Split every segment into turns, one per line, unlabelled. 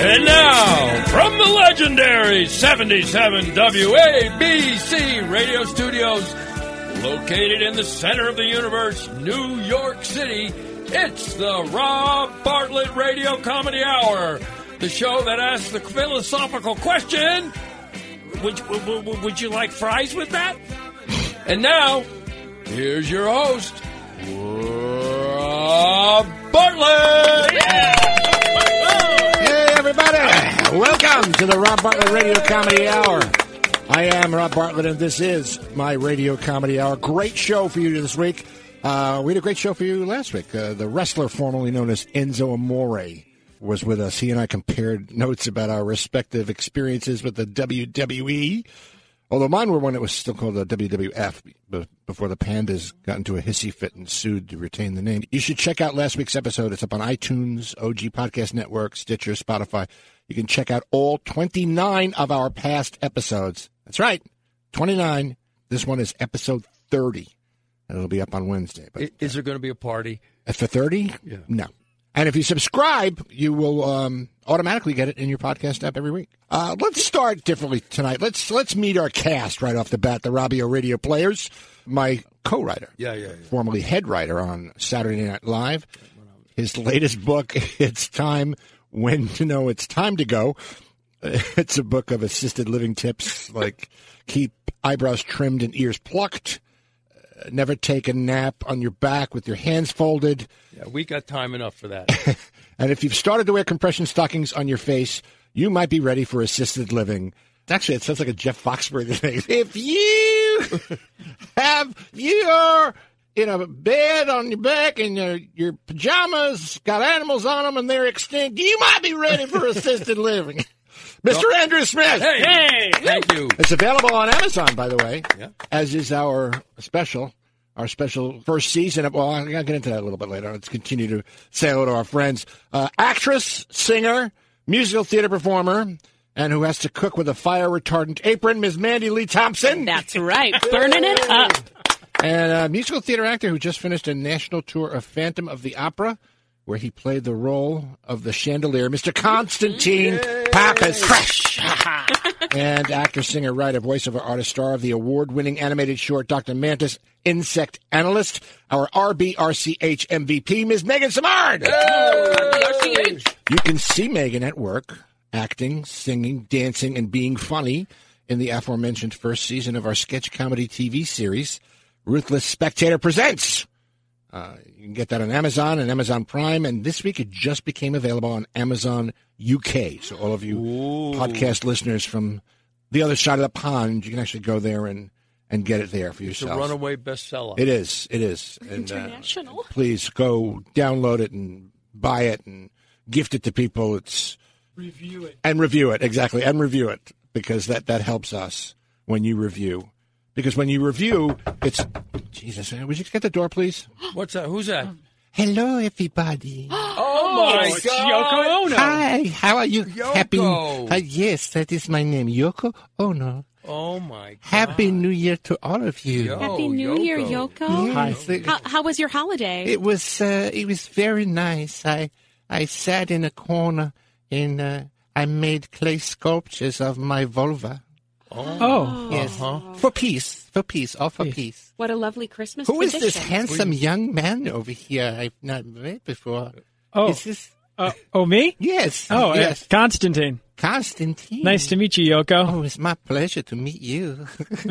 And now, from the legendary 77 WABC radio studios, located in the center of the universe, New York City, it's the Rob Bartlett Radio Comedy Hour, the show that asks the philosophical question Would, would, would- would you like fries with that? And now, here's your host, Rob Bartlett!
Hey, everybody! Welcome to the Rob Bartlett Radio Comedy Hour. I am Rob Bartlett, and this is my Radio Comedy Hour. Great show for you this week. Uh, we had a great show for you last week. Uh, the wrestler formerly known as Enzo Amore was with us. He and I compared notes about our respective experiences with the E. WWE. Although mine were when it was still called the WWF b- before the Pandas got into a hissy fit and sued to retain the name. You should check out last week's episode. It's up on iTunes, OG Podcast Network, Stitcher, Spotify. You can check out all 29 of our past episodes. That's right, 29. This one is episode 30. And it'll be up on Wednesday. But
Is there going to be a party?
as for 30?
Yeah.
No. And if you subscribe, you will um, automatically get it in your podcast app every week. Uh, let's start differently tonight. Let's let's meet our cast right off the bat, the Robbio Radio Players, my co-writer,
Yeah, yeah, yeah.
formerly head writer on Saturday Night Live. His latest book, It's Time When to Know It's Time to Go. It's a book of assisted living tips like keep eyebrows trimmed and ears plucked, uh, never take a nap on your back with your hands folded,
Yeah, we got time enough for that.
and if you've started to wear compression stockings on your face, you might be ready for assisted living. Actually, it sounds like a Jeff Foxworthy thing. If you have you're in a bed on your back and your, your pajamas got animals on them and they're extinct, you might be ready for assisted living. Mr. Andrew Smith.
Hey, thank you.
It's available on Amazon, by the way.
Yeah.
As is our special, our special first season. Of, well, I'll get into that a little bit later. Let's continue to say hello to our friends. Uh, actress, singer, musical theater performer, and who has to cook with a fire retardant apron, Ms. Mandy Lee Thompson.
That's right. Burning it up.
And a musical theater actor who just finished a national tour of Phantom of the Opera, where he played the role of the chandelier, Mr. Constantine Pappas. Fresh! and actor, singer, writer, voiceover artist, star of the award winning animated short Dr. Mantis, Insect Analyst, our RBRCH MVP, Ms. Megan Samard. You can see Megan at work, acting, singing, dancing, and being funny in the aforementioned first season of our sketch comedy TV series, Ruthless Spectator Presents. Uh, you can get that on Amazon and Amazon Prime, and this week it just became available on Amazon UK. So all of you podcast listeners from the other side of the pond, you can actually go there and, and get it there for
It's a
yourself.
runaway bestseller.
It is. It is. And, uh,
International.
please go download it and buy it and gift it to people. It's review it and review it exactly and review it because that that helps us when you review. Because when you review, it's Jesus. Would you get the door, please?
What's that? Who's that?
Hello, everybody.
Oh, my God.
Hi. How are you? Happy.
Yoko.
Uh, yes, that is my name, Yoko Ono.
Oh my God.
Happy New Year to all of you.
Yo.
Happy New
Yoko.
Year, Oh, Yoko.
Hi.
How, how was your holiday?
It was uh, it was very nice. I I sat in a corner and uh, I made clay sculptures of my vulva.
Oh,
Yes,
Uh-huh.
for peace, for peace, all for peace.
what a lovely Christmas
Who is
tradition.
this handsome young man over here? I've not met before.
oh,
Is this?
uh, oh, me?
Yes.
Oh, yes,
yes.
Constantine.
Constantine.
Nice to meet you, Yoko.
Oh, it's my pleasure to meet you.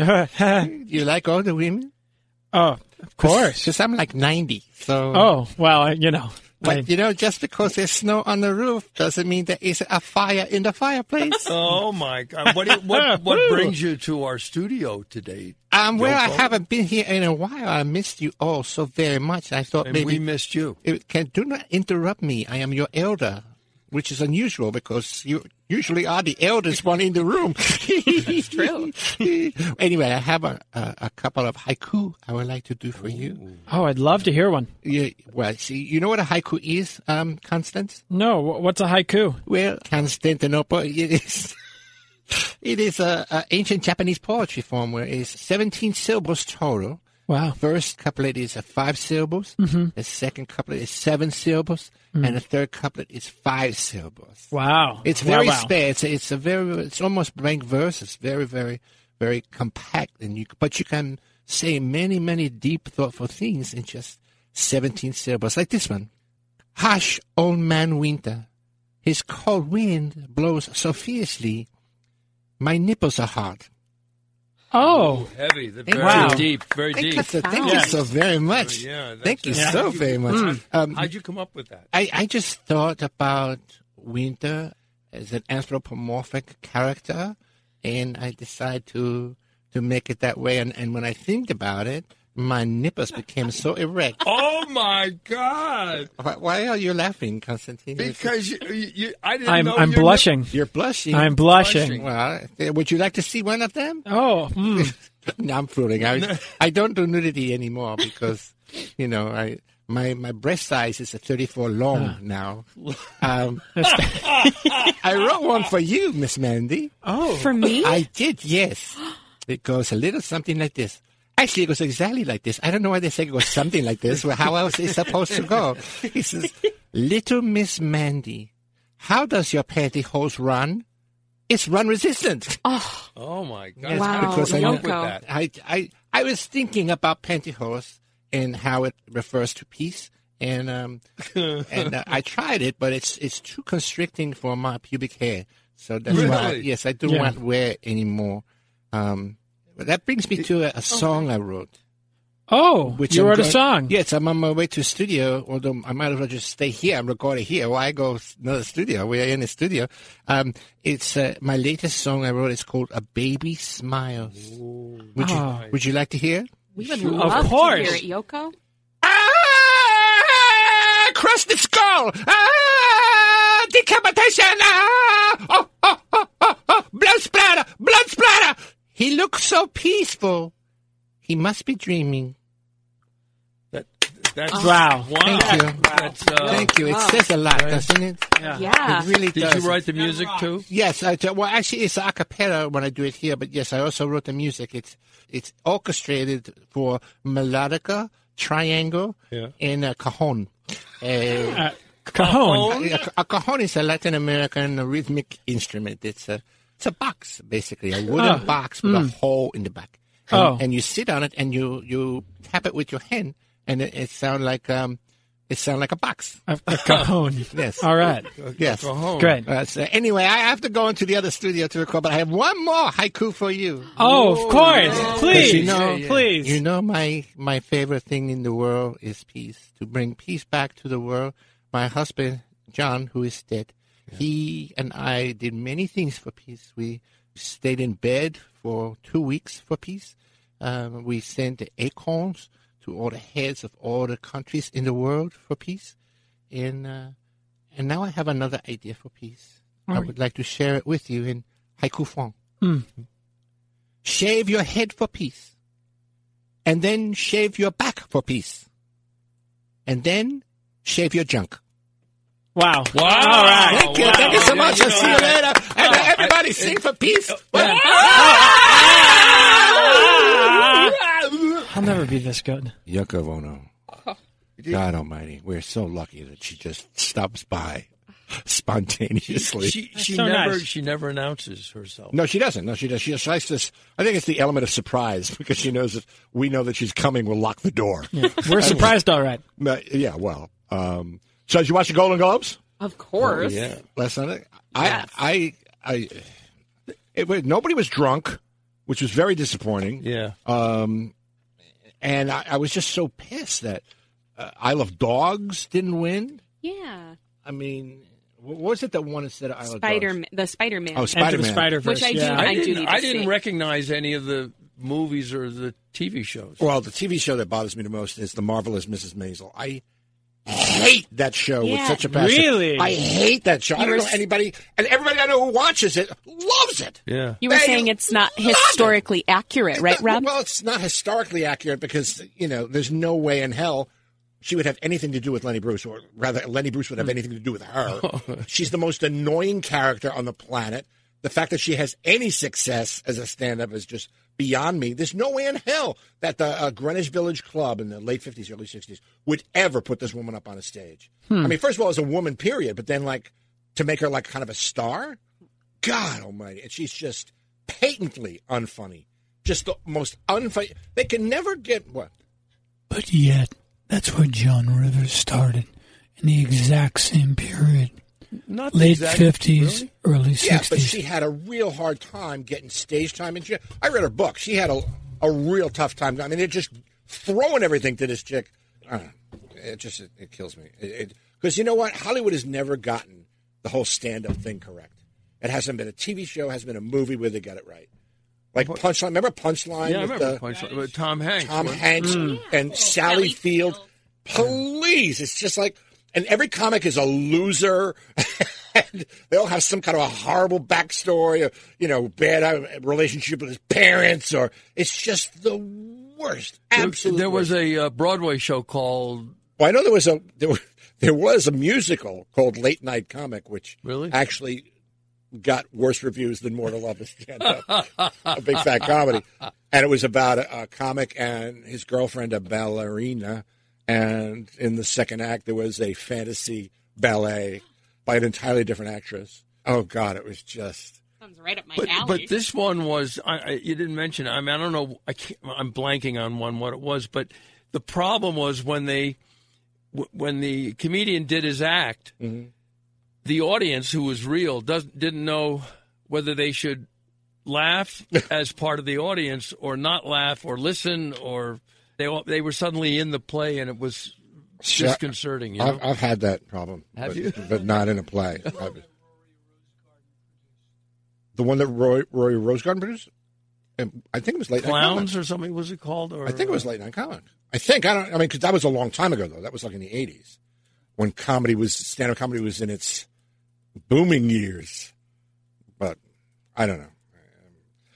you like all the women?
oh, of course.
Because I'm like 90, so.
Oh, well, I- you know, I,
But, you know, just because there's snow on the roof doesn't mean there is a fire in the fireplace.
Oh my God! What do- what what brings you to our studio today?
Um, well, I
Yoko?
haven't been here in a while. I missed you all so very much. I thought
And we
maybe
missed you.
it can do not interrupt me. I am your elder, which is unusual because you usually are the eldest one in the room. That's true. anyway, I have a, a, a couple of haiku I would like to do for you.
oh, I'd love to hear one.
you. Well, see, you know what a haiku is, um, Constance?
No, wh- what's a haiku?
Well, Constantinople it is.
It is a, a ancient Japanese poetry form where it's 17 syllables total.
Wow.
First couplet is a five syllables. The second couplet is seven syllables, and the third couplet is five syllables.
Wow.
It's
Wow,
very
wow.
sparse. It's, it's a very. It's almost blank verse. It's very, very, very compact, and you. But you can say many, many deep, thoughtful things in just seventeen syllables, like this one. Hush, old man Winter. His cold wind blows so fiercely. My nipples are hot.
Oh,
Heavy, the very
Wow.
deep, very
Thank,
deep. Oh,
you, so, thank you
Profound.
so very much.
Yeah, that's
thank you
a-
so very much. Um,
How'd you come up with that?
I, I just thought about Winter as an anthropomorphic character, and I decided to to make it that way. And, and when I think about it, my nipples became so erect.
Oh my God!
Why, why are you laughing, Constantine?
Because you, you, you I didn't
I'm
know.
I'm
your
blushing.
you're blushing.
I'm blushing.
Well, eh, would you like to see one of them?
Oh, mm.
no, I'm fooling. I I don't do nudity anymore because you know I. My, my breast size is a 34 long
Ah.
now. Um, I wrote one for you, Miss Mandy.
oh,
For me?
I did, yes. It goes a little something like this. Actually, it goes exactly like this. I don't know why they say it goes something like this. Well, how else is it supposed to go? It says, Little Miss Mandy, how does your pantyhose run? It's run resistant.
oh,
Oh my God!
Yes,
Wow,
Because I
Yoko.
with that.
I, I, I was thinking about pantyhose and how it refers to peace. And um, and uh, I tried it, but it's it's too constricting for my pubic hair. So that's why,
Really?
yes, I don't
Yeah.
want wear anymore. Um, but that brings me to a, a song I wrote.
oh, you
I'm
wrote a
going-
song.
Yes, I'm on my way to studio, although I might as well just stay here and record it here. Why go s- another studio? We're in a studio. Um, it's uh, my latest song I wrote. It's called A Baby Smiles. Would,
Oh.
you, would you like to hear?
we would
Sure. Of
love to
course.
hear it, Yoko.
Ah! Crusted skull! Ah! Decapitation! Ah! Oh, oh, oh, oh, oh! Blood splatter! Blood splatter! He looks so peaceful. He must be dreaming.
That, that's
Wow.
Wow.
Thank you.
That's, uh,
Thank you. It
wow.
says a lot, doesn't it?
Yeah.
Yeah.
It really
Did
does.
you write the music too?
Yes, I, well, actually, it's a cappella when I do it here, but yes, I also wrote the music. It's it's orchestrated for melodica, triangle,
Yeah.
and a cajon. Uh,
Uh, cajon.
A, a cajon is a Latin American rhythmic instrument. It's a it's a box basically, a wooden
Oh,
box with a hole in the back. And,
Oh.
and you sit on it and you you tap it with your hand, and it, it sound like um, it sound like a box.
A, a cajon.
Yes.
All right.
Yes.
Oh,
Great.
Uh, so anyway, I have to go into the other studio to record, but I have one more haiku for you.
Oh, of course. Please.
'Cause you know,
Please.
You know, my my favorite thing in the world is peace. To bring peace back to the world, my husband John, who is dead, he and I did many things for peace. We stayed in bed for two weeks for peace. Um, we sent acorns to all the heads of all the countries in the world for peace, and uh, and now I have another idea for peace. I would like to share it with you in haiku form.
Hmm.
Shave your head for peace and then shave your back for peace, and then shave your junk.
Wow.
Wow.
All right.
Thank you,
Oh, wow.
thank you so much. I'll see you later. And uh, everybody, sing for peace. Well,
I'll never be this good.
Yoko Ono, God Almighty, we're so lucky that she just stops by spontaneously.
She she
so
never
nice.
she never announces herself.
no, she doesn't. No, she does. She just likes this. I think it's the element of surprise because she knows that we know that she's coming. We'll lock the door. Yeah,
We're surprised. All right.
yeah well. Um, so, did you watch the Golden Globes?
Of course.
Yeah.
last night. I, I, I, it, was- nobody was drunk, which was very disappointing.
Yeah.
Um, and I, I was just so pissed that uh, I Love Dogs didn't win.
Yeah.
I mean, wh- what was it that won instead of I Love
Spider
Dogs?
the Spider Man.
Oh,
Enter
Spider
the
Man.
Spider Verse.
Which I do-
yeah.
I-
didn't,
need to
I didn't
see.
recognize any of the movies or the TV shows.
well, the TV show that bothers me the most is The Marvelous Mrs. Maisel. I hate that show with
Yeah.
such a passion.
Really?
I hate that show. I
You
don't
were
know
s-
anybody, and everybody I know who watches it loves it.
yeah.
You were
Hey,
saying it's not
love it.
historically accurate, right,
It's not-
Rob?
Well, it's not historically accurate because you know there's no way in hell she would have anything to do with Lenny Bruce, or
Hmm. Oh.
rather, Lenny Bruce would have anything to do with her. She's the most annoying character on the planet. The
the fact that she has any success as a stand-up is just beyond me. There's no way in hell that the uh, Greenwich Village Club in the late 50s, early 60s would ever put this woman up on a stage.
Hmm.
I mean, first of all, as a woman, period, but then like to make her like kind of a star. God Almighty! And she's just patently unfunny. Just the most unfunny. They can never get what.
But yet, that's where John Rivers started in the exact same period.
Not
Late
exact-
50s,
really?
early 60s.
Yeah, but she had a real hard time getting stage time. And she, I read her book. She had a, a real tough time. I mean, they're just throwing everything to this chick. Uh, I don't know. It just it, it kills me. Because you know what? Hollywood has never gotten the whole stand up thing correct. It hasn't been a TV show, hasn't been a movie where they got it right. Like Punchline. Remember Punchline?
Yeah, I
with
remember
the-
Punch- uh, Tom Hanks.
Tom
wasn't- Mm.
Hanks and Sally
Sally
Field.
Field.
Please, it's just like, and every comic is a loser. and they all have some kind of a horrible backstory, or you know, bad uh, relationship with his parents, or it's just the worst. Absolutely,
There was a uh, Broadway show called
Well, I know there was a there, wa- there was a musical called Late Night Comic, which
Really?
actually got worse reviews than More to Love is Stand Up, a big fat comedy, and it was about a, a comic and his girlfriend, a ballerina, and in the second act there was a fantasy ballet by an entirely different actress. Oh God, it was just
Comes right up my
But
alley.
but this one was I, I, you didn't mention. it. I mean, I don't know. I can't, I'm blanking on one what it was. But the problem was when they w- when the comedian did his act,
Mm-hmm.
the audience who was real doesn't didn't know whether they should laugh as part of the audience or not laugh or listen or they all- they were suddenly in the play and it was
Sure.
disconcerting. You know?
I've, I've had that problem.
Have
but,
you?
But not in a play. I- the one that Roy, Roy Rosegarden produced? And I think it was late
Clowns
night.
or something was it called? Or
Comic. I think it was late night comic. I think I don't. I mean, because that was a long time ago though. That was like in the eighties when comedy was stand up comedy was in its booming years. But I don't know.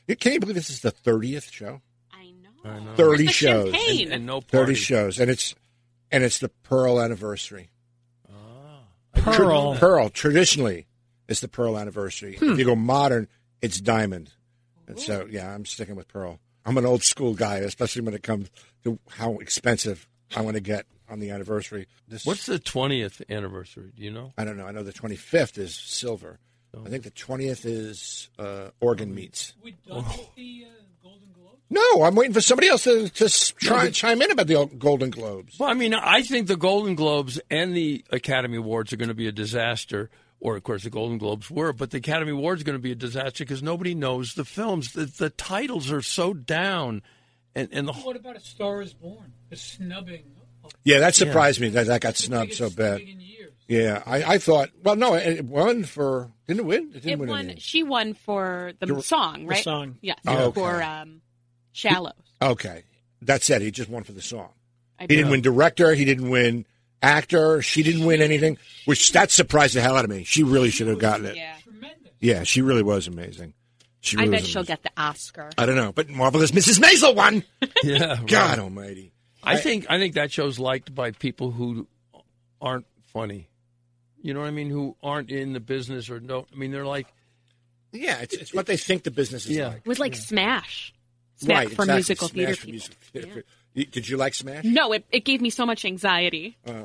Um, Can you believe this is the thirtieth show?
I know.
I know.
Where's
30
the
shows.
champagne?
and, and no
Thirty
party.
shows, and it's and it's the Pearl anniversary.
Pearl.
Tra- Ah. Pearl Hmm. traditionally is the Pearl anniversary. If you go modern, it's Diamond. And so yeah, I'm sticking with Pearl. I'm an old school guy, especially when it comes to how expensive I want to get on the anniversary. This
What's the twentieth anniversary? Do you know?
I don't know. I know the 25th is silver. I think the 20th is uh, organ meats. We done with the uh, Golden Globes? No, I'm waiting for somebody else to, to s- try and chime in about the Golden Globes.
Well, I mean, I think the Golden Globes and the Academy Awards are going to be a disaster. Or, of course, the Golden Globes were, but the Academy Awards are going to be a disaster because nobody knows the films. The, the titles are so down, and and the whole
What about A Star Is Born? The snubbing of
Yeah, that surprised me that that got
biggest
snubbed so bad.
snubbing in years.
Yeah, I, I thought. Well, no, it it won for didn't it win? It didn't
It
win.
won.
anything.
She won for the
The-
song, right?
song.
Yes.
Oh, okay.
For um, Shallow.
Okay, that's it. He just won for the song.
I
He didn't
believe.
win director. He didn't win actor. She didn't win anything, which that surprised the hell out of me. She really should have gotten it.
Yeah.
Tremendous.
Yeah, she really was amazing. She
I
really
bet
was
she'll
amazing.
get the Oscar.
I don't know, but marvelous Mrs. Maisel won.
yeah, right.
God Almighty!
I think I think that show's liked by people who aren't funny. You know what I mean? Who aren't in the business or don't? I mean, they're like,
Yeah, it's, it's what they think the business is
Yeah.
like.
It was like Smash. Smash
Right,
for
exactly.
musical
Smash
theater
for
people.
musical theater. You- Did you like Smash?
No, it, it gave me so much anxiety.
Uh,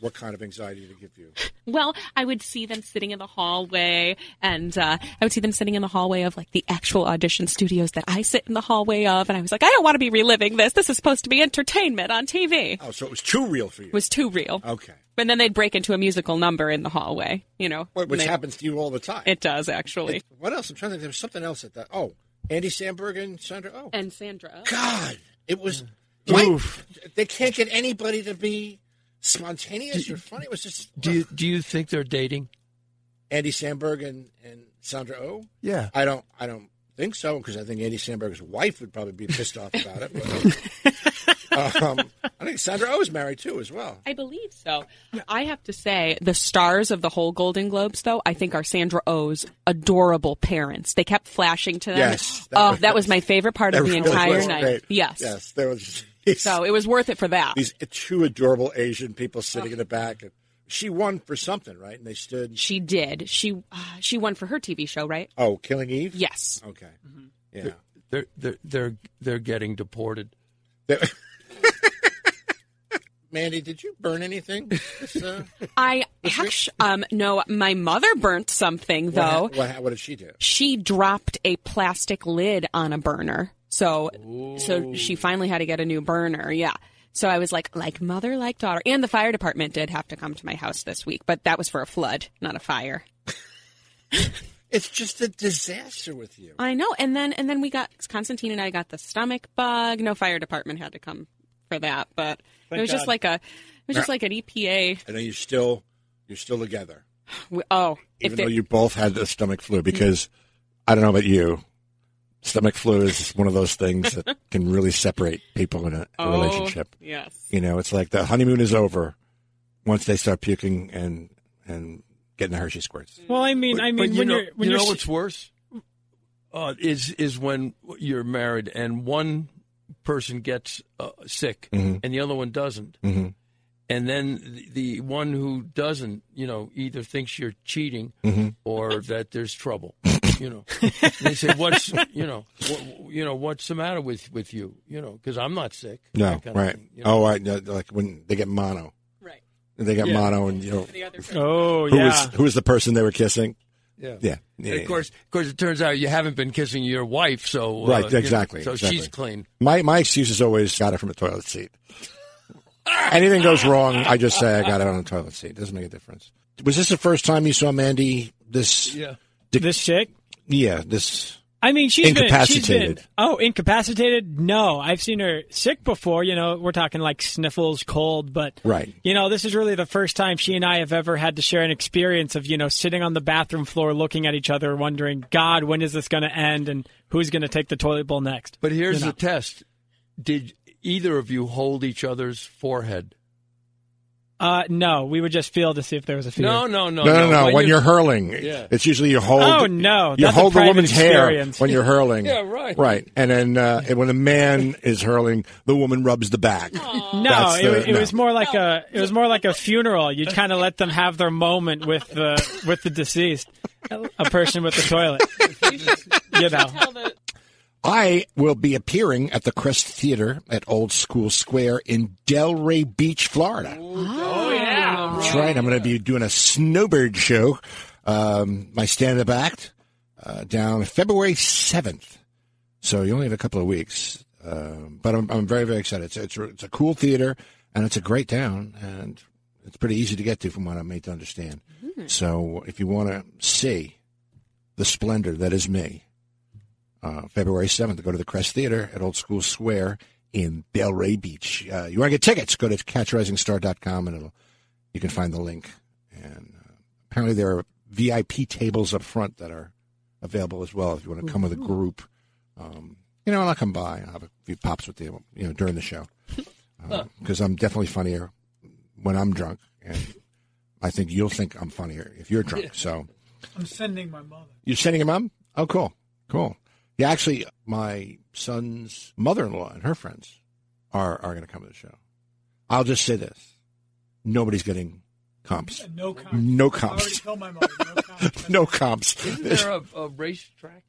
what kind of anxiety did it give you?
Well, I would see them sitting in the hallway, and uh, I would see them sitting in the hallway of like the actual audition studios that I sit in the hallway of, and I was like, I don't want to be reliving this. This is supposed to be entertainment on TV.
Oh, so it was too real for you.
It was too real.
okay,
And then they'd break into a musical number in the hallway. You know,
Wh- which
And they-
happens to you all the time.
It does actually.
It- what else? I'm trying to think. There was something else at that. Oh, Andy Samberg and Sandra. Oh,
And Sandra.
God, it was. Why, they can't get anybody to be spontaneous or funny. It was just
do you do you think they're dating?
Andy Samberg and, and Sandra Oh.
Yeah,
I don't. I don't think so because I think Andy Samberg's wife would probably be pissed off about it. but, um, I think Sandra Oh is married too, as well.
I believe so. I have to say, the stars of the whole Golden Globes, though, I think are Sandra O's adorable parents. They kept flashing to them.
Yes, that
oh,
was-
that was my favorite part of
That
the
really
entire
was
night.
great.
Yes.
Yes. There was.
So it was worth it for that.
these two adorable Asian people sitting in the back and she won for something, right? And they stood.
She did. She uh, she won for her TV show, right?
Oh, Killing Eve.
Yes.
Okay.
Mm-hmm.
Yeah.
They're they're they're they're getting deported.
That- Mandy, did you burn anything? This, uh,
I actually um no, my mother burnt something
what, ha-
though.
what, ha- what did she do?
She dropped a plastic lid on a burner. So so she finally had to get a new burner. Yeah. So I was like like mother like daughter and the fire department did have to come to my house this week, but that was for a flood, not a fire.
It's just a disaster with you.
I know. And then and then we got Constantine and I got the stomach bug. No fire department had to come for that, but it was just
God.
like a it was just like an E EPA.
I know you're still you're still together,
We, oh,
even
if it,
though you both had the stomach flu. Because I don't know about you, stomach flu is one of those things that can really separate people in a, a
oh,
relationship.
Yes.
You know, it's like the honeymoon is over once they start puking and and getting the Hershey squirts.
Well, I mean, I
But
mean,
you
when
know,
you're when
you
you're
know
s-
what's worse uh, is is when you're married and one person gets uh, sick
Mm-hmm.
and the other one doesn't,
Mhm.
and then the, the one who doesn't, you know, either thinks you're cheating
Mm-hmm.
or that there's trouble. You know, they say, "What's you know, what, you know, what's the matter with with you? You know, because I'm not sick."
No,
that kind of
right?
thing, you know.
Oh, I no, like when they get mono,
Right.
they got
Yeah.
mono, and you know
The other
oh
who
yeah,
was who was the person they were kissing?
yeah.
Yeah,
And
Yeah.
of course, of course, it turns out you haven't been kissing your wife, so uh,
Right,
you know,
exactly,
so she's
exactly.
clean.
My my excuse is always got it from a toilet seat. Anything goes wrong, I just say I got it on a toilet seat. Doesn't make a difference. Was this the first time you saw Mandy? This yeah,
this chick.
this
I mean, she's been- She's
Incapacitated.
been, oh, incapacitated? No, I've seen her sick before. You know, we're talking like sniffles, cold, but
Right.
You know, this is really the first time she and I have ever had to share an experience of you know sitting on the bathroom floor, looking at each other, wondering, God, when is this going to end, and who's going to take the toilet bowl next?
But here's
You know.
the test: Did either of you hold each other's forehead?
Uh, no, we would just feel to see if there was a fear.
No, no, no,
no no no. When, you're
hurt,
hurling,
Yeah.
it's usually you hold.
Oh, no,
you
that's a
hold the
private
woman's
experience.
hair when you're hurling.
Yeah, right.
right. And then uh, and when a man is hurling, the woman rubs the back.
No,
That's
it,
the-
wa- it
no.
was more like a it was more like a funeral. You'd kind of let them have their moment with the with the deceased, a person with the toilet. You know,
I will be appearing at the Crest Theater at Old School Square in Delray Beach, Florida.
Oh, yeah.
That's right. I'm going to be doing a snowbird show, um, my stand up act, uh, down February 7th. So you only have a couple of weeks. Um, but I'm, I'm very, very excited. It's, it's, it's a cool theater and it's a great town and it's pretty easy to get to from what I'm made to understand.
Hmm.
Hmm.
So if you want to see the splendor that is me, uh, February 7th, go to the Crest Theater at Old School Square in Delray Beach. Uh, you want to get tickets, go to catchrisingstar.com and it'll you can find the link. And uh, apparently there are VIP tables up front that are available as well if you want to come with a group. Um, you know, and I'll come by and have a few pops with you, you know, during the show because I'm definitely funnier when I'm drunk, and I think you'll think I'm funnier if you're drunk. So
I'm sending my mother.
you're sending him mom? Oh, cool, cool. Yeah, actually, my son's mother-in-law and her friends are are going to come to the show. I'll just say this: nobody's getting comps.
And no comp.
No
I already
comps.
told my mother. No comp.
No comps.
Isn't there a, a racetrack?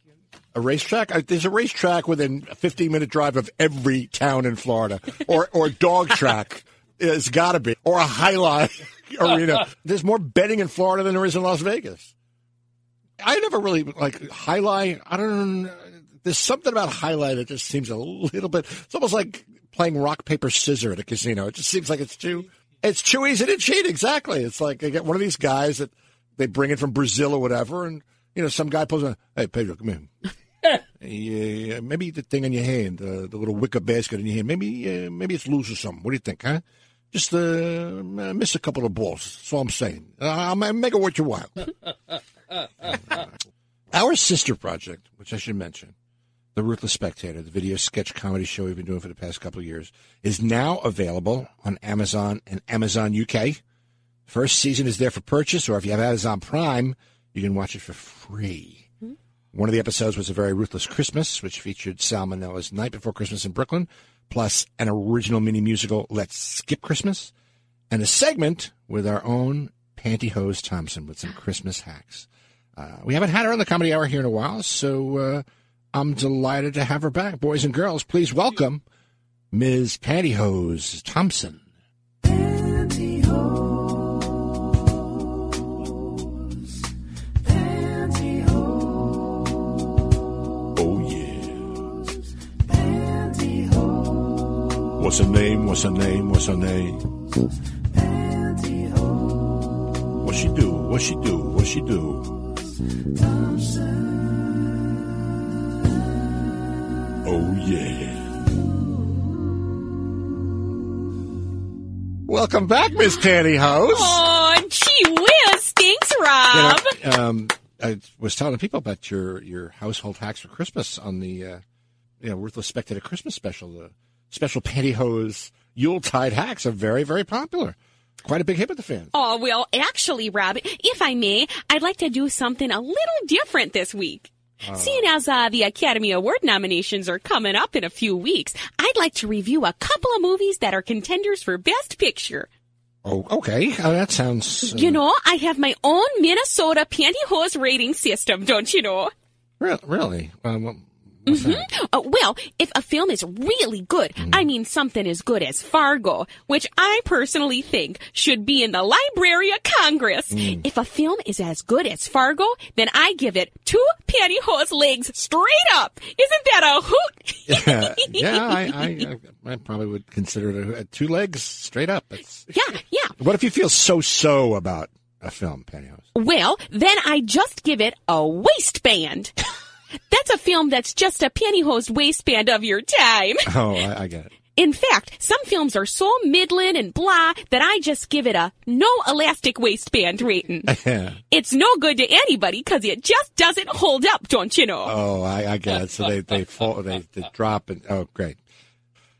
A racetrack? Uh, There's a racetrack within a 15 minute drive of every town in Florida, or or a dog track. It's got to be, or a highlight arena. There's more betting in Florida than there is in Las Vegas. I never really like highlight. I don't. know. There's something about highlight that just seems a little bit. It's almost like playing rock paper scissor at a casino. It just seems like it's too. It's too easy to cheat. Exactly. It's like they get one of these guys that they bring in from Brazil or whatever, and you know some guy pulls on. Hey Pedro, come here. Yeah, maybe the thing in your hand, uh, the little wicker basket in your hand, maybe uh, maybe it's loose or something. What do you think, huh? Just uh, m- miss a couple of balls. That's all I'm saying. Uh, I'll ma- make it worth your while. Our sister project, which I should mention, The Ruthless Spectator, the video sketch comedy show we've been doing for the past couple of years, is now available on Amazon and Amazon UK. First season is there for purchase, or if you have Amazon Prime, you can watch it for free.
Hmm?
One of the episodes was A Very Ruthless Christmas, which featured Salmonella's Night Before Christmas in Brooklyn, plus an original mini musical, Let's Skip Christmas, and a segment with our own Pantyhose Thompson with some Christmas hacks. Uh, we haven't had her on the Comedy Hour here in a while, so uh, I'm delighted to have her back. Boys and girls, please welcome Ms. Pantyhose Thompson. Oh, yeah. What's her name? What's her name? What's her name? What she do? What she do? What she do? Oh yeah. Welcome back, Miss Pantyhose.
Oh, gee whiz, thanks, Rob.
You know, um, I was telling people about your your household hacks for Christmas on the uh, you know worthless spec did a Christmas special. The special pantyhose Yuletide hacks are very very popular. Quite a big hit with the fans.
Oh, well, actually, Rob, if I may, I'd like to do something a little different this week.
Oh.
Seeing as uh, the Academy Award nominations are coming up in a few weeks, I'd like to review a couple of movies that are contenders for Best Picture.
Oh, okay. Uh, that sounds. uh,
You know, I have my own Minnesota pantyhose rating system, don't you know?
Re- really? Um, what- what's that? Mm.
Uh, well, if a film is really good, I mean something as good as Fargo, which I personally think should be in the Library of Congress.
Mm.
If a film is as good as Fargo, then I give it two pantyhose legs straight up. Isn't that a hoot?
yeah, yeah I, I, I probably would consider it a, a two legs straight up. It's,
yeah, yeah.
what if you feel so so about a film, Pantyhose?
Well, then I just give it a waistband. That's a film that's just a pantyhose waistband of your time.
Oh, I, I get it.
In fact, some films are so middling and blah that I just give it a no elastic waistband rating.
Yeah.
it's no good to anybody because it just doesn't hold up, don't you know?
Oh, I, I get it. So they, they fall, they, they drop and, oh, great.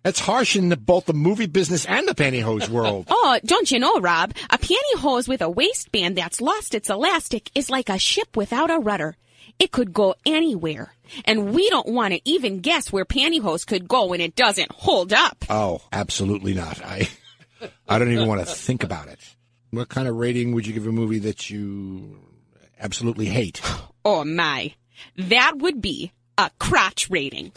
That's harsh in the, both the movie business and the pantyhose world.
Oh, don't you know, Rob? A pantyhose with a waistband that's lost its elastic is like a ship without a rudder. It could go anywhere. And we don't want to even guess where pantyhose could go when it doesn't hold up.
Oh, absolutely not. I, I don't even want to think about it. What kind of rating would you give a movie that you absolutely hate?
Oh my. That would be a crotch rating.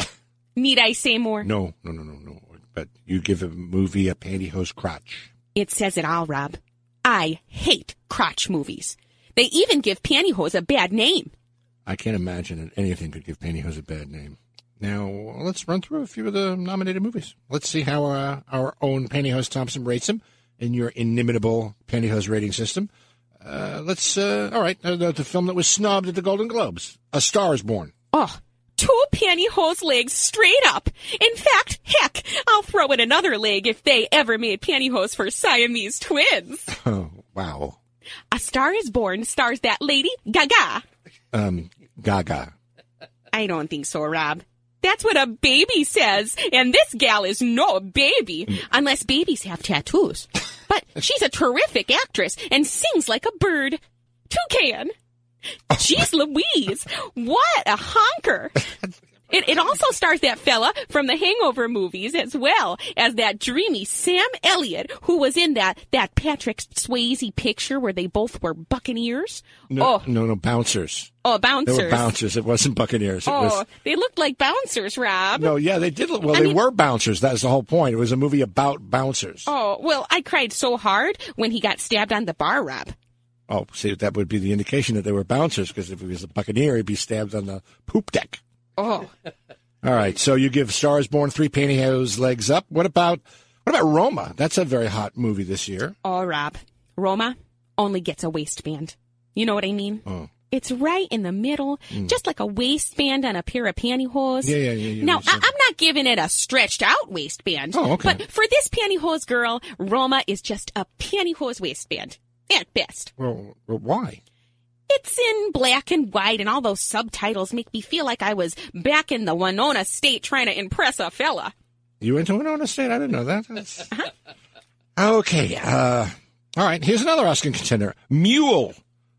Need I say more?
No, no, no, no, no. But you give a movie a pantyhose crotch.
It says it all, Rob. I hate crotch movies. They even give pantyhose a bad name.
I can't imagine that anything could give pantyhose a bad name. Now let's run through a few of the nominated movies. Let's see how uh, our own pantyhose Thompson rates them in your inimitable pantyhose rating system. Uh, let's. Uh, all right, uh, the, the film that was snubbed at the Golden Globes, A Star Is Born.
Oh, two pantyhose legs straight up. In fact, heck, I'll throw in another leg if they ever made pantyhose for Siamese twins.
Oh wow,
A Star is Born stars that lady, Gaga.
um, Gaga.
I don't think so, Rob. That's what a baby says, and this gal is no baby, unless babies have tattoos. But she's a terrific actress and sings like a bird. Toucan. Jeez Louise, what a honker. It, it also stars that fella from the Hangover movies as well as that dreamy Sam Elliott who was in that, that Patrick Swayze picture where they both were buccaneers.
No,
Oh,
no, no, bouncers.
oh,
They
bouncers.
were bouncers. It wasn't Buccaneers. It
Oh,
was
they looked like bouncers, Rob.
No, yeah, they did. look- Well, they
mean-
were bouncers. That's the whole point. It was a movie about bouncers. Oh,
Oh, well, I cried so hard when he got stabbed on the bar, Rob.
Oh, see, that would be the indication that they were bouncers because if he was a buccaneer, he'd be stabbed on the poop deck.
Oh,
All right, so you give Stars Born three pantyhose legs up. What about what about Roma? That's a very hot movie this year.
oh, Rob. Roma only gets a waistband. You know what I mean?
Hmm.
Oh.
It's right in the middle, just like a waistband on a pair of pantyhose.
Mm. Yeah, yeah, yeah, yeah,
Now,
you
I-
said-
I'm not giving it a stretched out waistband.
Oh, okay.
But for this pantyhose girl, Roma is just a pantyhose waistband. At best.
Well, well, why?
It's in black and white, and all those subtitles make me feel like I was back in the Winona State trying to impress a fella. Uh-huh.
You went to Winona State? I didn't know that. That's... Okay. Uh, all right. Here's another Oscar contender: Mule,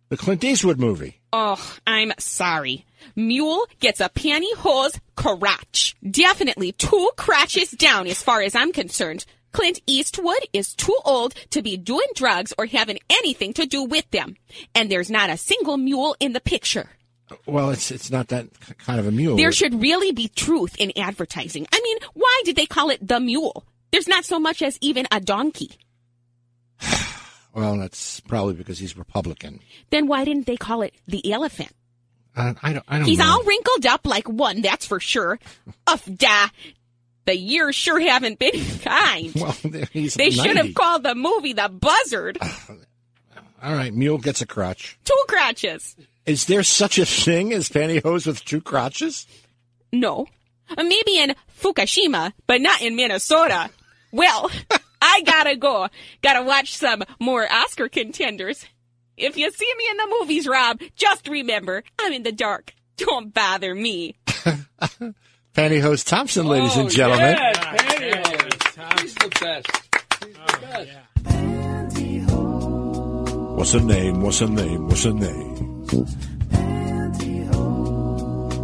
the Clint Eastwood movie.
Oh, I'm sorry. Mule gets a pantyhose crotch. Definitely two crotches down as far as I'm concerned. Clint Eastwood is too old to be doing drugs or having anything to do with them. And there's not a single mule in the picture.
Well, it's it's not that k- kind of a mule.
There should really be truth in advertising. I mean, why did they call it the mule? There's not so much as even a donkey.
well, that's probably because he's Republican.
Then why didn't they call it the elephant?
I, I don't. I don't.
He's
know.
all wrinkled up like one, that's for sure. Uff da. The years sure haven't been kind.
Well, he's
They should
90.
have called the movie The Buzzard.
All right, mule gets a crotch.
Two crotches.
Is there such a thing as pantyhose with two crotches?
No. Maybe in Fukushima, but not in Minnesota. Well, I gotta go. Gotta watch some more Oscar contenders. If you see me in the movies, Rob, just remember, I'm in the dark. Don't bother me.
Pantyhose Thompson, ladies
Oh,
and gentlemen.
Yes, pantyhose. He's the best.
What's her name? What's her name? What's her name?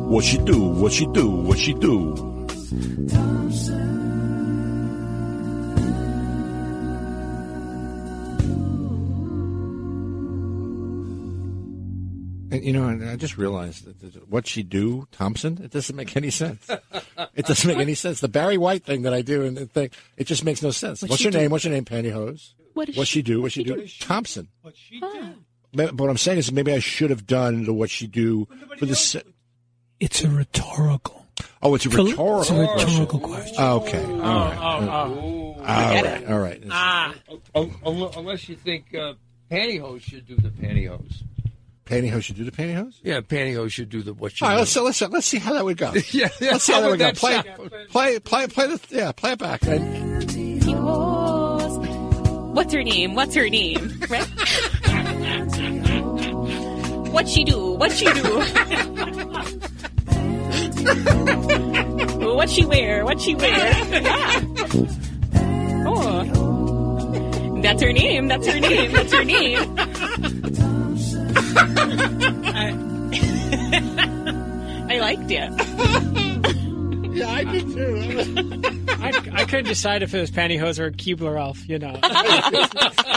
What she do? What she do? What she do?
And, you know, and I just realized that that what she do, Thompson, it doesn't make any sense. It doesn't make any sense. The Barry White thing that I do and the thing, it just makes no sense.
What
What's
she
your
do?
name? What's your name? Pantyhose.
What is
What she do? What she
she
do? Thompson.
What she did.
Ma- But what I'm saying is maybe I should have done the what she do for the. se-
It's a rhetorical.
Oh, it's a
Phil-
rhetorical.
It's a
question.
rhetorical question.
Oh, okay. All right.
Oh,
All right. All right.
Oh, oh, unless you think uh, pantyhose should do the pantyhose.
Pantyhose should do the pantyhose.
Yeah, pantyhose should do the what you
All right,
do.
let's let's let's see how that would go.
Yeah, yeah,
let's see how
how
that would
would
go.
that
Play,
sound?
play, play, play the yeah, play it back. And
What's her name? What's her name? Right? what she do? What she do? what she wear? What she wear? Yeah. Oh. That's her name. That's her name. That's her name. I liked it.
yeah, I did too.
I, I couldn't decide if it was pantyhose or Keebler elf. You know,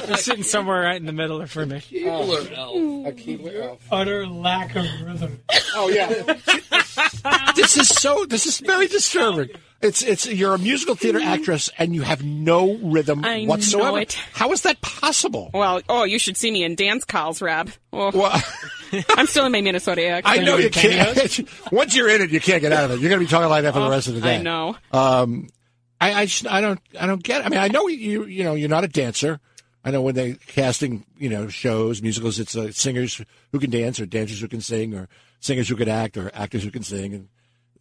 they're sitting somewhere right in the middle for me.
Keebler elf.
Utter lack of rhythm.
Oh yeah. this is so. This is very disturbing. It's it's you're a musical theater actress and you have no rhythm
I know
whatsoever.
it.
How is that possible?
Well, oh, you should see me in dance calls, Rob. Oh,
Well,
I'm still in my Minnesota accent.
I know you can't. Once you're in it, you can't get out of it. You're going to be talking like that for the rest of the day.
Oh,
Um,
I know.
I, I, just, I don't I don't get. It. I mean, I know you you know you're not a dancer. I know when they casting you know shows musicals, it's uh, singers who can dance or dancers who can sing or singers who can act or actors who can sing. And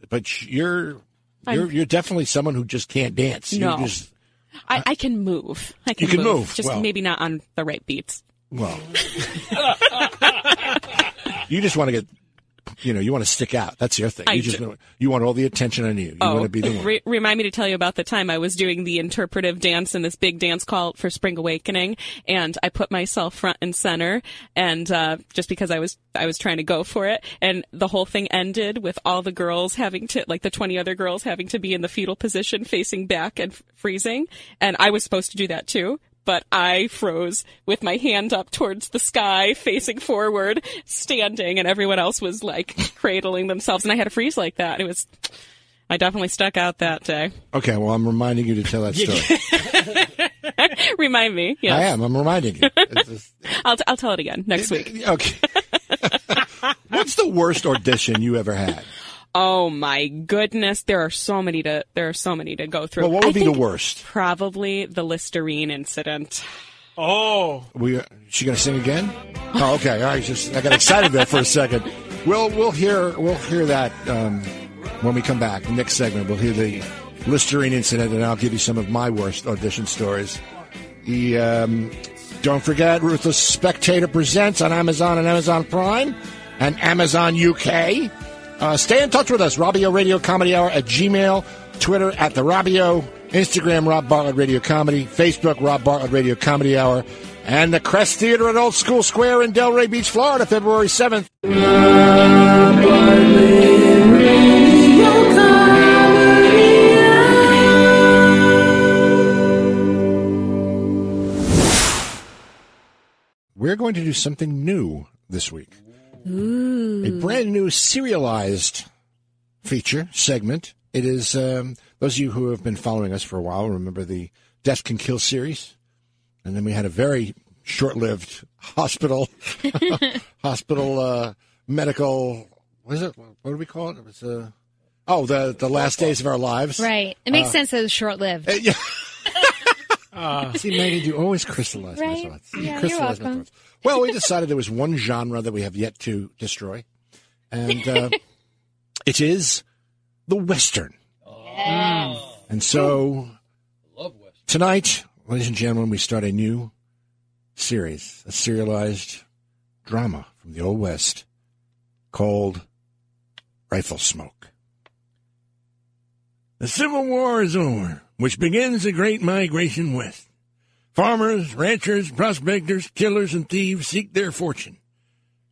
but you're you're, you're definitely someone who just can't dance.
No.
You just
I, I can move. I can
You can
move.
move,
Just
well.
maybe not on the right beats.
well, you just want to get. You know, you want to stick out. That's your thing.
I
you just
do.
you want all the attention on you. You want to be the one.
Oh, re- remind me to tell you about the time I was doing the interpretive dance in this big dance call for Spring Awakening, and I put myself front and center, and uh, just because I was I was trying to go for it, and the whole thing ended with all the girls having to like the twenty other girls having to be in the fetal position, facing back and f- freezing, and I was supposed to do that too. But I froze with my hand up towards the sky, facing forward, standing, and everyone else was like cradling themselves. And I had to freeze like that. It was I definitely stuck out that day.
okay, well, I'm reminding you to tell that story.
Remind me.
I
Yes.
am. I'm reminding you. It's just-
I'll, t- I'll tell it again next week.
Okay. What's the worst audition you ever had?
Oh my goodness. There are so many to, there are so many to go through.
Well, what
I
would be the
think
worst?
Probably the Listerine incident.
Oh,
We she gonna sing again? Oh, okay. All right. Just I got excited there for a second. We'll we'll hear we'll hear that um, when we come back next segment. We'll hear the Listerine incident, and I'll give you some of my worst audition stories. The um, don't forget, Ruthless Spectator presents on Amazon and Amazon Prime and Amazon UK. Uh, stay in touch with us, Robbio Radio Comedy Hour at Gmail, Twitter at the Robbio, Instagram Rob Bartlett Radio Comedy, Facebook Rob Bartlett Radio Comedy Hour, and the Crest Theater at Old School Square in Delray Beach, Florida, February seventh. we're going to do something new this week. A brand new serialized feature segment. It is um, those of you who have been following us for a while remember the Death Can Kill series, and then we had a very short-lived hospital hospital uh, medical. What is it? What do we call it? It was uh, oh the the last days of our lives.
Right. It makes
Uh,
sense that it was short lived.
yeah. See, Megan, you always crystallize
Right?
my thoughts.
Yeah,
you
you're
crystallize my
welcome.
thoughts. Well, we decided there was one genre that we have yet to destroy, and uh, it is the Western. And so tonight, ladies and gentlemen, we start a new series, a serialized drama from the Old West called Rifle Smoke.
The Civil War is over, which begins the Great Migration West. Farmers, ranchers, prospectors, killers, and thieves seek their fortune.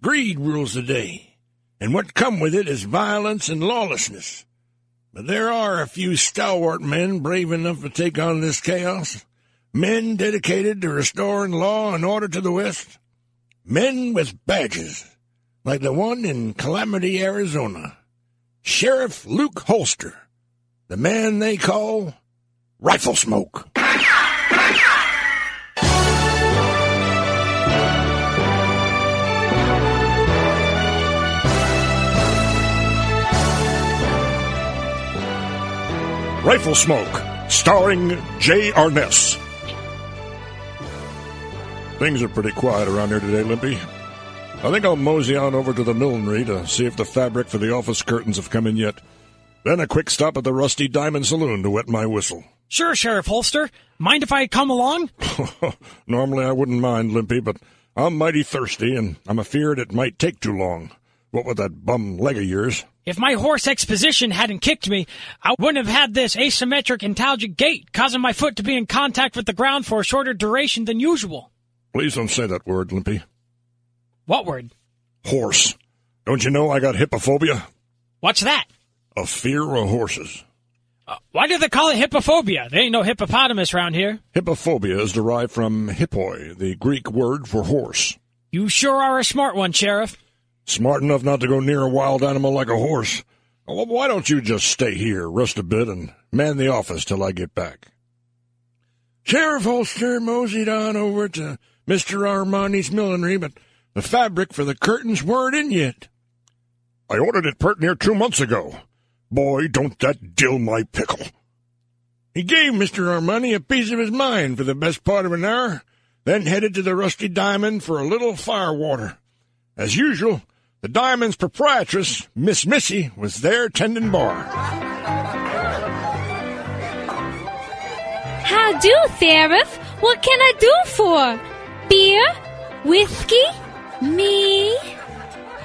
Greed rules the day, and what come with it is violence and lawlessness. But there are a few stalwart men brave enough to take on this chaos, men dedicated to restoring law and order to the West, men with badges, like the one in Calamity, Arizona, Sheriff Luke Holster the man they call Rifle Smoke.
Rifle Smoke, starring Jay Arness.
Things are pretty quiet around here today, Limpy. I think I'll mosey on over to the millinery to see if the fabric for the office curtains have come in yet. Then a quick stop at the Rusty Diamond Saloon to wet my whistle.
Sure, Sheriff Holster. Mind if I come along?
Normally I wouldn't mind, Limpy, but I'm mighty thirsty, and I'm afeard it might take too long. What with that bum leg of yours?
If my horse exposition hadn't kicked me, I wouldn't have had this asymmetric intelligent gait, causing my foot to be in contact with the ground for a shorter duration than usual.
Please don't say that word, Limpy.
What word?
Horse. Don't you know I got hippophobia?
What's that?
A fear of horses.
Why do they call it hippophobia? There ain't no hippopotamus round here.
Hippophobia is derived from hippoi, the Greek word for horse.
You sure are a smart one, Sheriff.
Smart enough not to go near a wild animal like a horse. Well, Why don't you just stay here, rest a bit, and man the office till I get back? Sheriff Holster moseyed on over to Mr. Armani's millinery, but the fabric for the curtains weren't in yet.
I ordered it pert near two months ago. Boy, don't that dill my pickle.
He gave Mr. Armani a piece of his mind for the best part of an hour, then headed to the Rusty Diamond for a little fire water. As usual, the diamond's proprietress, Miss Missy, was there tending bar.
How do, Theraph? What can I do for? Beer? Whiskey? Me?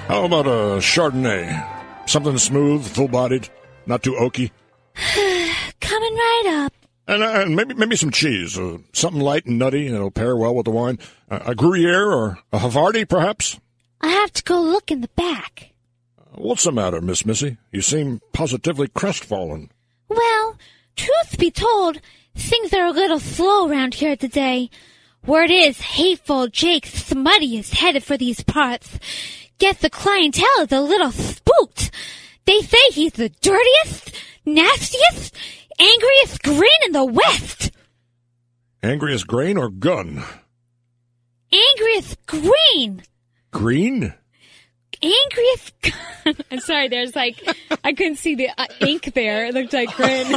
How about a Chardonnay? Something smooth, full bodied, not too oaky.
Coming right up.
And, uh, and maybe maybe some cheese, uh, something light and nutty, and it'll pair well with the wine. Uh, a Gruyere or a Havarti, perhaps. Uh,
I have to go look in the back.
What's the matter, Miss Missy? You seem positively crestfallen.
Well, truth be told, things are a little slow round here today. Word is, hateful Jake Smutty is headed for these parts. Guess the clientele is a little spooked. They say he's the dirtiest, nastiest, angriest grin in the West.
Angriest grain or gun?
Angriest green.
Green?
Angriest. Gun. I'm sorry. There's like I couldn't see the uh, ink there. It looked like grin.
All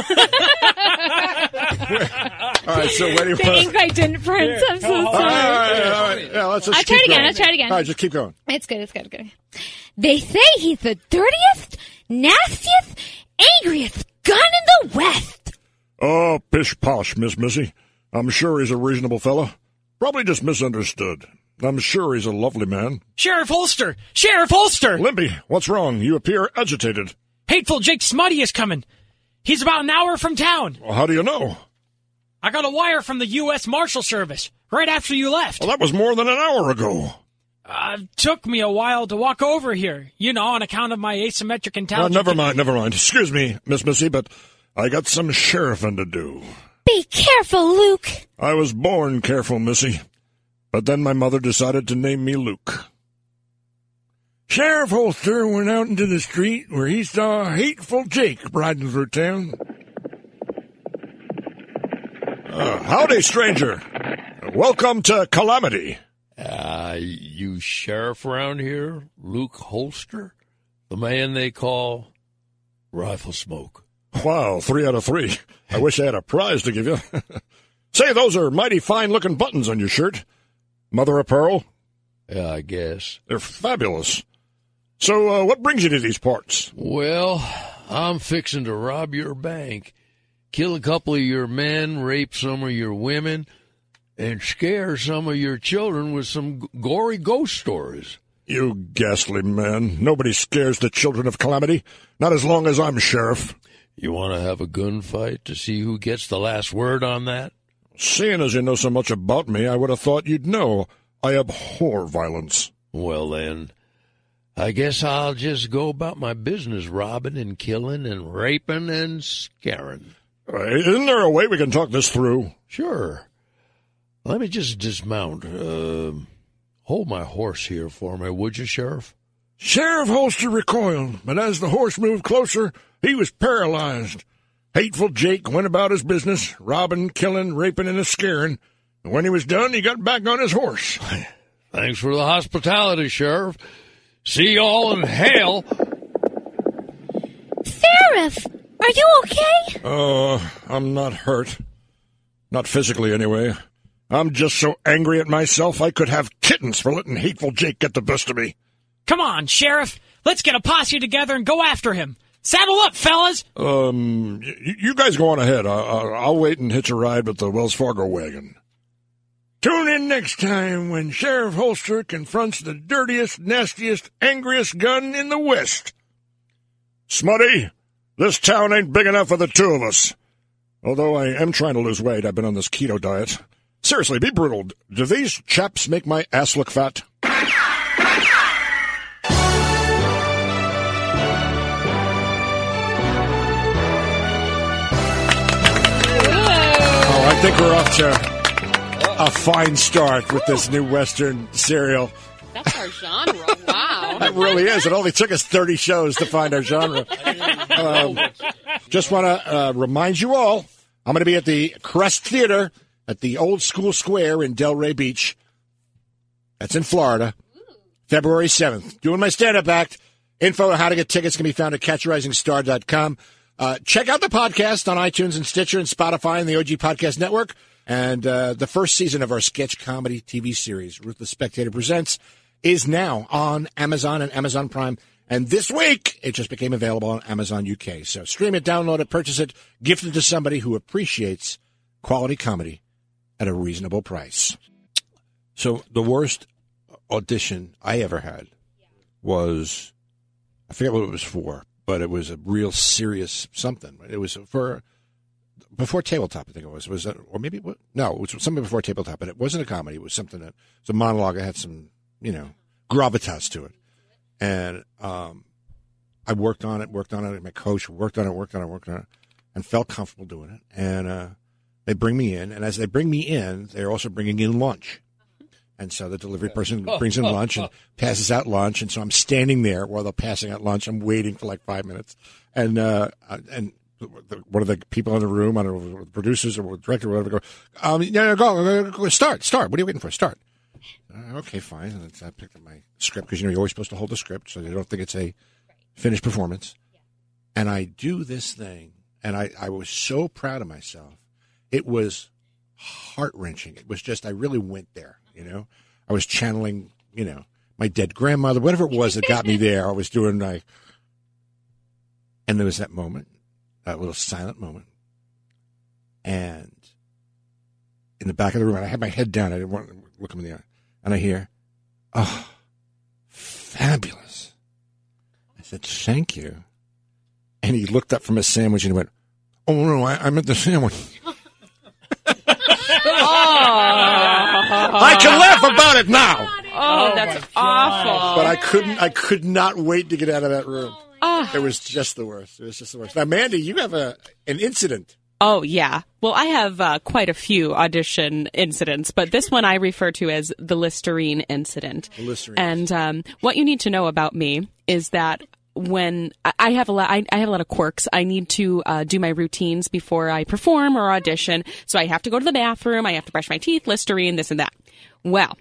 right, so where do you
the ink I didn't print. I'm so
All right, all
sorry.
right, all right. Yeah, let's just
I'll try
keep
it again,
going.
I'll try it again.
All right, just keep going.
It's good. It's good. Good. They say he's the dirtiest, nastiest, angriest gun in the West.
Oh, pish posh, Miss Missy. I'm sure he's a reasonable fellow. Probably just misunderstood. I'm sure he's a lovely man.
Sheriff Holster! Sheriff Holster!
Limpy, what's wrong? You appear agitated.
Hateful Jake Smutty is coming. He's about an hour from town.
Well, how do you know?
I got a wire from the U.S. Marshal Service right after you left.
Well, that was more than an hour ago.
Uh, took me a while to walk over here, you know, on account of my asymmetric
Uh,
intelligence.
never mind, never mind. Excuse me, Miss Missy, but I got some sheriffing to do.
Be careful, Luke.
I was born careful, Missy. But then my mother decided to name me Luke.
Sheriff Holster went out into the street where he saw hateful Jake riding through town.
Uh, howdy, stranger. Welcome to Calamity.
Uh, you sheriff around here, Luke Holster, the man they call Rifle Smoke.
Wow, three out of three. I wish I had a prize to give you. Say, those are mighty fine looking buttons on your shirt. Mother of pearl?
Yeah, I guess.
They're fabulous. So, uh, what brings you to these parts?
Well, I'm fixing to rob your bank, kill a couple of your men, rape some of your women, and scare some of your children with some g- gory ghost stories.
You ghastly man. Nobody scares the children of Calamity. Not as long as I'm sheriff.
You want to have a gunfight to see who gets the last word on that?
Seeing as you know so much about me, I would have thought you'd know. I abhor violence.
Well, then, I guess I'll just go about my business robbing and killing and raping and scaring.
Uh, Isn't there a way we can talk this through?
Sure. Let me just dismount. Uh, hold my horse here for me, would you, Sheriff?
Sheriff Holster recoiled, but as the horse moved closer, he was paralyzed. Hateful Jake went about his business, robbing, killing, raping, and a scaring. And when he was done, he got back on his horse.
Thanks for the hospitality, Sheriff. See y'all in hell.
Seraph, are you okay?
Uh, I'm not hurt. Not physically, anyway. I'm just so angry at myself I could have kittens for letting hateful Jake get the best of me.
Come on, Sheriff. Let's get a posse together and go after him. Saddle up, fellas.
Um, y- you guys go on ahead. I- I- I'll wait and hitch a ride with the Wells Fargo wagon.
Tune in next time when Sheriff Holster confronts the dirtiest, nastiest, angriest gun in the West.
Smutty, this town ain't big enough for the two of us. Although I am trying to lose weight, I've been on this keto diet. Seriously, be brutal. Do these chaps make my ass look fat? Oh, I think we're off to a fine start with this new Western serial.
That's our genre. Wow.
That really is. It only took us 30 shows to find our genre. Um, just want to uh, remind you all I'm going to be at the Crest Theater at the Old School Square in Delray Beach. That's in Florida, February 7th. Doing my stand up act. Info on how to get tickets can be found at catchrisingstar.com. Uh, check out the podcast on iTunes and Stitcher and Spotify and the OG Podcast Network. And uh, the first season of our sketch comedy TV series, Ruthless Spectator Presents, is now on Amazon and Amazon Prime. And this week, it just became available on Amazon UK. So stream it, download it, purchase it, gift it to somebody who appreciates quality comedy at a reasonable price.
So the worst audition I ever had was I forget what it was for, but it was a real serious something. It was for before tabletop, I think it was. Was that, or maybe it wa- no, it was something before tabletop, but it wasn't a comedy. It was something that it's a monologue. I had some you know gravitas to it, and um, I worked on it, worked on it. My coach worked on it, worked on it, worked on it, and felt comfortable doing it. And uh, they bring me in, and as they bring me in, they're also bringing in lunch. And so the delivery person brings in lunch and passes out lunch. And so I'm standing there while they're passing out lunch. I'm waiting for like five minutes. And, uh, and the- one of the people in the room, I don't know, if it was the producers or the director or whatever, go, um, no, no, go, go, go, start, start. What are you waiting for? Start. Uh, okay, fine. And it's- I picked up my script because, you know, you're always supposed to hold the script so they don't think it's a finished performance. And I do this thing. And I, I was so proud of myself. It was heart wrenching. It was just, I really went there, you know? I was channeling, you know, my dead grandmother, whatever it was that got me there. I was doing like, and there was that moment, that little silent moment. And in the back of the room, and I had my head down. I didn't want to look him in the eye. And I hear, oh, fabulous. I said, thank you. And he looked up from his sandwich and he went, oh, no, I, I meant the sandwich. I can laugh about it now.
Oh, that's awful.
But I couldn't. I could not wait to get out of that room.
Ah.
It was just the worst. It was just the worst. Now, Mandy, you have a an incident.
Oh yeah. Well, I have uh, quite a few audition incidents, but this one I refer to as the Listerine incident.
Listerine.
And um, what you need to know about me is that when I- I have a lot, I, I have a lot of quirks. I need to uh, do my routines before I perform or audition, so I have to go to the bathroom. I have to brush my teeth, Listerine, this and that. Well.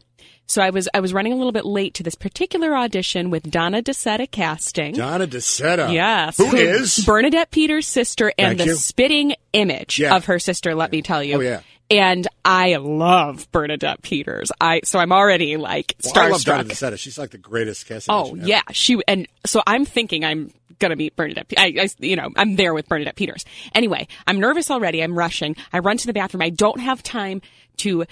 So I was I was running a little bit late to this particular audition with Donna DeSetta casting.
Donna DeSetta.
Yes.
Who is?
Bernadette Peters' sister and
Thank
the
you.
spitting image
Yeah.
of her sister, let me tell you.
Oh, yeah.
And I love Bernadette Peters. I so I'm already like
Well, I love Donna
starstruck.
DeSetta. She's like the greatest cast.
Oh yeah, she and so I'm thinking I'm gonna meet Bernadette. Pe- I, I you know I'm there with Bernadette Peters. Anyway, I'm nervous already. I'm rushing. I run to the bathroom. I don't have time to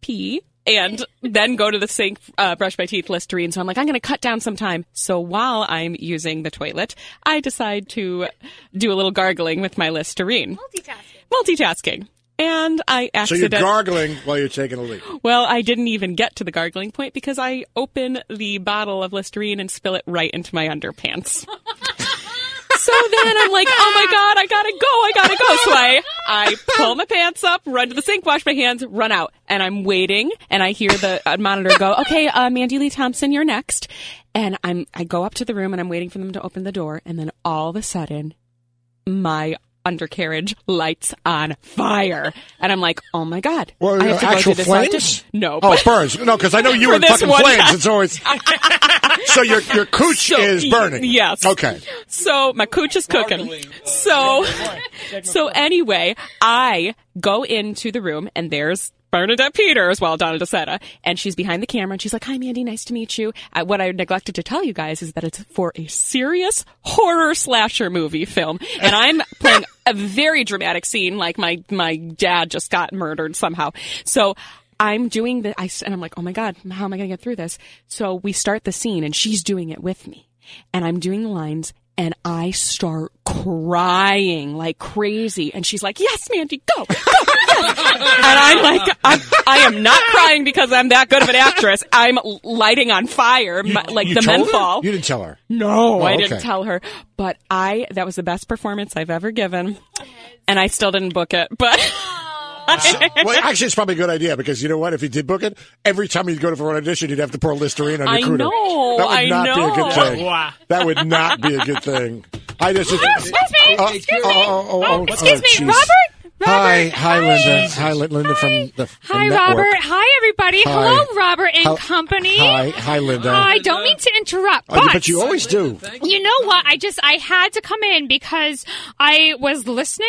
pee and then go to the sink, uh, brush my teeth, Listerine. So I'm like, I'm going to cut down some time. So while I'm using the toilet, I decide to do a little gargling with my Listerine. Multitasking. Multitasking. And I
So you're
accidentally.
gargling while you're taking a leak.
Well, I didn't even get to the gargling point because I open the bottle of Listerine and spill it right into my underpants. So then I'm like, oh my god, I gotta go, I gotta go. So I, I pull my pants up, run to the sink, wash my hands, run out, and I'm waiting, and I hear the uh, monitor go, okay, uh, Mandy Lee Thompson, you're next. And I'm, I go up to the room and I'm waiting for them to open the door, and then all of a sudden, my undercarriage lights on fire, and I'm like, oh my god,
Well,
I have to
actual
go to this
flames?
audition. No,
Oh,
but-
it burns. No, because I know you
For
in
this
fucking
one
flames.
time.
It's always so your your cooch
So,
is burning.
y- yes.
Okay.
So my cooch is cooking. So, so anyway, I go into the room and there's Bernadette Peters, well, Donna DeSetta, and she's behind the camera and she's like, "Hi, Mandy, nice to meet you." Uh, what I neglected to tell you guys is that it's for a serious horror slasher movie film, and I'm playing a very dramatic scene, like my my dad just got murdered somehow. So I'm doing the, I, s- and I'm like, oh my God, how am I going to get through this? So we start the scene and she's doing it with me and I'm doing the lines and I start crying like crazy. And she's like, yes, Mandy, go. go yes." and I'm like, I'm, I am not crying because I'm that good of an actress. I'm lighting on fire, my- like
You
the
told her?
menthol.
You didn't tell her.
No,
Oh,
I didn't
okay.
tell her. But I that was the best performance I've ever given. And I still didn't book it, but
well, actually, it's probably a good idea because you know what? If you did book it, every time you'd go for an audition, you'd have to pour Listerine on your
I
cooter.
know,
That would
I
not be a good
know.
thing.
Wow.
That would not be a good thing. I just.
Excuse me,
Oh,
excuse me.
oh, oh, oh, oh,
Excuse
oh, jeez.
me, Robert?
Hi, hi,
Robert, hi.
Linda. Hi, Li- Linda from the. the
Hi,
network.
Robert. Hi, everybody.
Hi.
Hello, Robert and
Hel-
company.
Hi, hi, Linda.
Oh, I don't mean to interrupt,
Oh,
but,
you- but you always do.
You know what? I just I had to come in because I was listening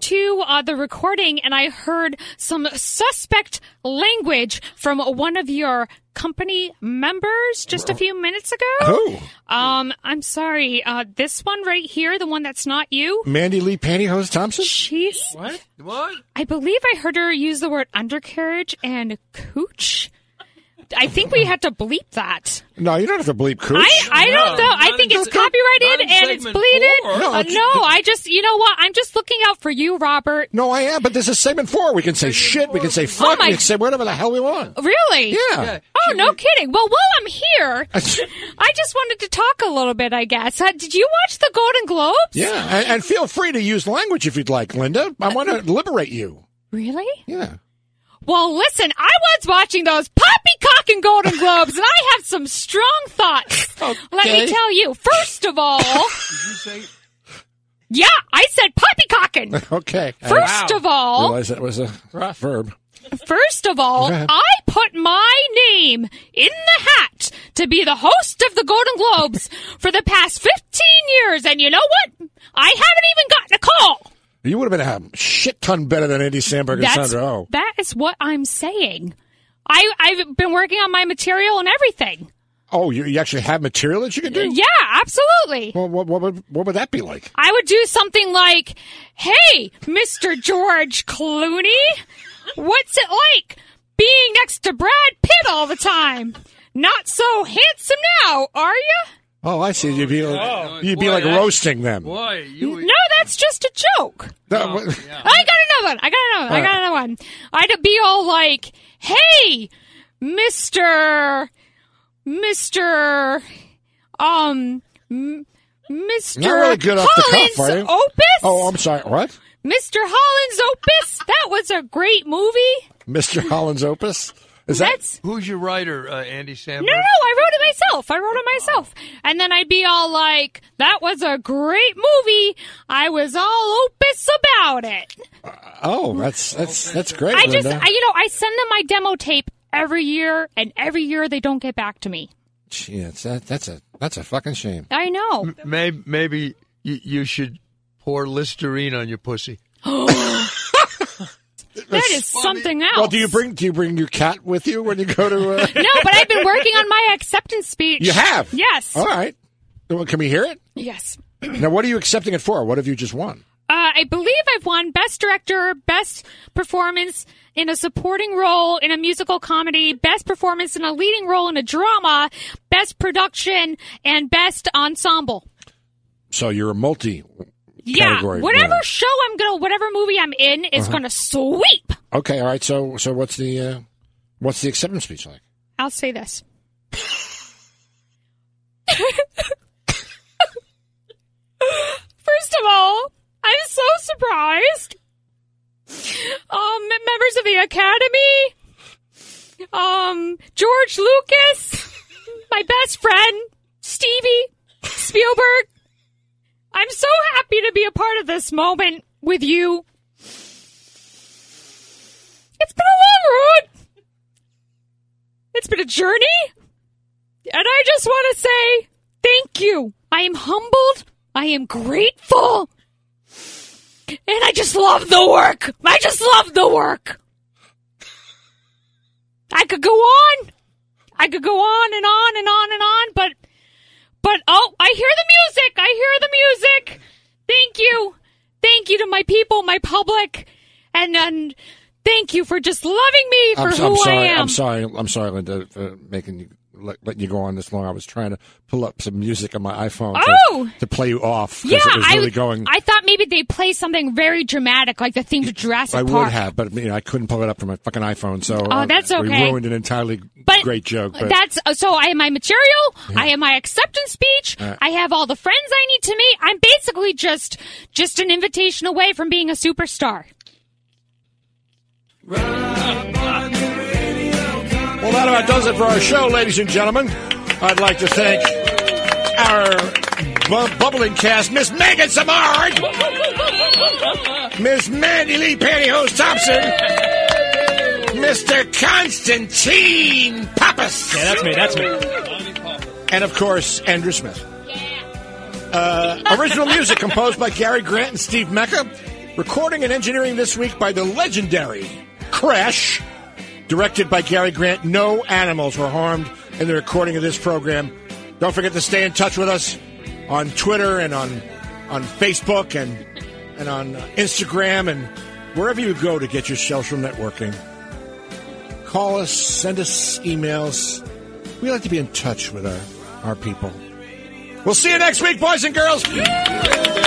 to uh, the recording and I heard some suspect language from one of your company members just a few minutes ago. Who? Um, I'm sorry. Uh, this one right here, the one that's not you.
Mandy Lee Pantyhose Thompson?
She's what? What? I believe I heard her use the word undercarriage and cooch. I think we had to bleep that.
No, you don't have to bleep cooch.
I, I don't know. I think it's copyrighted
not in
and it's
segment
bleeded.
four. No,
Uh,
it's-
no, I just you know what? I'm just looking out for you, Robert.
No, I am, but this is segment four. Oh We can say shit, we can say fuck,
my-
we can say whatever the hell we want.
Really?
Yeah. Yeah.
Oh, no kidding. Well, while I'm here, I just wanted to talk a little bit. I guess. Uh, did you watch the Golden Globes?
Yeah, and, and feel free to use language if you'd like, Linda. I want
Uh,
to liberate you.
Really?
Yeah.
Well, listen, I was watching those poppycock and Golden Globes, and I have some strong thoughts. Let me tell you. First of all, yeah, I said poppycocking.
Okay.
First of all-
realize that was a verb.
First of all,
Yeah.
I put my name in the hat to be the host of the Golden Globes for the past 15 years, and you know what? I haven't even gotten a call.
You would have been a shit ton better than Andy Samberg and
That's,
Sandra Oh.
that is what I'm saying. I, I've been working on my material and everything.
Oh, you, you actually have material that you can do?
Yeah, absolutely.
Well, what, what, would, what would that be like?
I would do something like, "Hey, Mr. George Clooney, what's it like being next to Brad Pitt all the time? Not so handsome now, are you?"
Oh, I see. You'd be, you'd be
Boy,
like
that-
roasting them.
Boy,
No, that's just a joke.
That- what-
I got another one. I got another. One. I got
All
another one. I'd be all like, "Hey, Mister, Mister, um, m- Mister
Not really good off the cuff,
Collins
are you?
Opus."
Oh, I'm sorry. What?
Mr. Holland's Opus. That was a great movie.
Mr. Holland's Opus? Is that
That's
Who's your writer, uh, Andy Samberg?
No, no, I wrote it myself. I wrote it myself. And then I'd be all like, that was a great movie. I was all opus about it.
Oh, that's that's that's great.
I just,
Linda.
I, you know, I send them my demo tape every year, and every year they don't get back to me.
Gee, it's- that, that's a that's a fucking shame.
I know.
Maybe, maybe you, you should pour Listerine on your pussy.
that is something else.
Mm. Well, do you bring do you bring your cat with you when you go to? Uh...
no, but I've been working on my acceptance speech.
You have.
Yes.
All right. Well, Can we hear it?
Yes.
Now, what are you accepting it for? What have you just won?
Uh, I believe I've won Best Director, Best Performance in a Supporting Role in a Musical Comedy, Best Performance in a Leading Role in a Drama, Best Production, and Best Ensemble.
So you're a multi.
Yeah,
Category
whatever
winner.
show I'm gonna, whatever movie I'm in is
Uh-huh.
gonna sweep.
Okay. All right. So so what's the uh, what's the acceptance speech like?
I'll say this. First of all, I'm so surprised. Um, members of the Academy, um, George Lucas, my best friend, Stevie, Spielberg. I'm so happy to be a part of this moment with you. It's been a long road. It's been a journey. And I just want to say thank you. I am humbled. I am grateful. And I just love the work. I just love the work. I could go on. I could go on and on and on and on, but but oh, I hear the music. I hear the music. Thank you. Thank you to my people, my public, and and thank you for just loving me for
I'm,
who
so- I'm sorry.
I am.
am sorry. I'm sorry, Linda, for making you let, letting you go on this long. I was trying to pull up some music on my iPhone to-
Oh!
to, play you off. 'cause
Yeah,
it was
I,
really
would-
going.
I thought maybe they play something very dramatic, like the theme to Jurassic
I would
Park.
have, but you know, I couldn't pull it up from my fucking iPhone. So uh,
Oh, that's
We
okay.
ruined an entirely
But
great joke. But
That's uh, so. I have my material.
Yeah.
I have my acceptance speech.
All right.
I have all the friends I need to meet. I'm basically just just an invitation away from being a superstar.
Well, that about does it for our show, ladies and gentlemen. I'd like to thank our bu- bubbling cast, Miss Megan Samard, Miss Mandy Lee Pantyhose Thompson, Mr. Constantine Pappas.
Yeah, that's me, that's me.
And of course, Andrew Smith. Uh, original music composed by Gary Grant and Steve Mecca. Recording and engineering this week by the legendary Crash. Directed by Gary Grant. No animals were harmed in the recording of this program. Don't forget to stay in touch with us on Twitter and on on Facebook and and on uh, Instagram and wherever you go to get your social networking. Call us, send us emails. We like to be in touch with our, our people. We'll see you next week, boys and girls.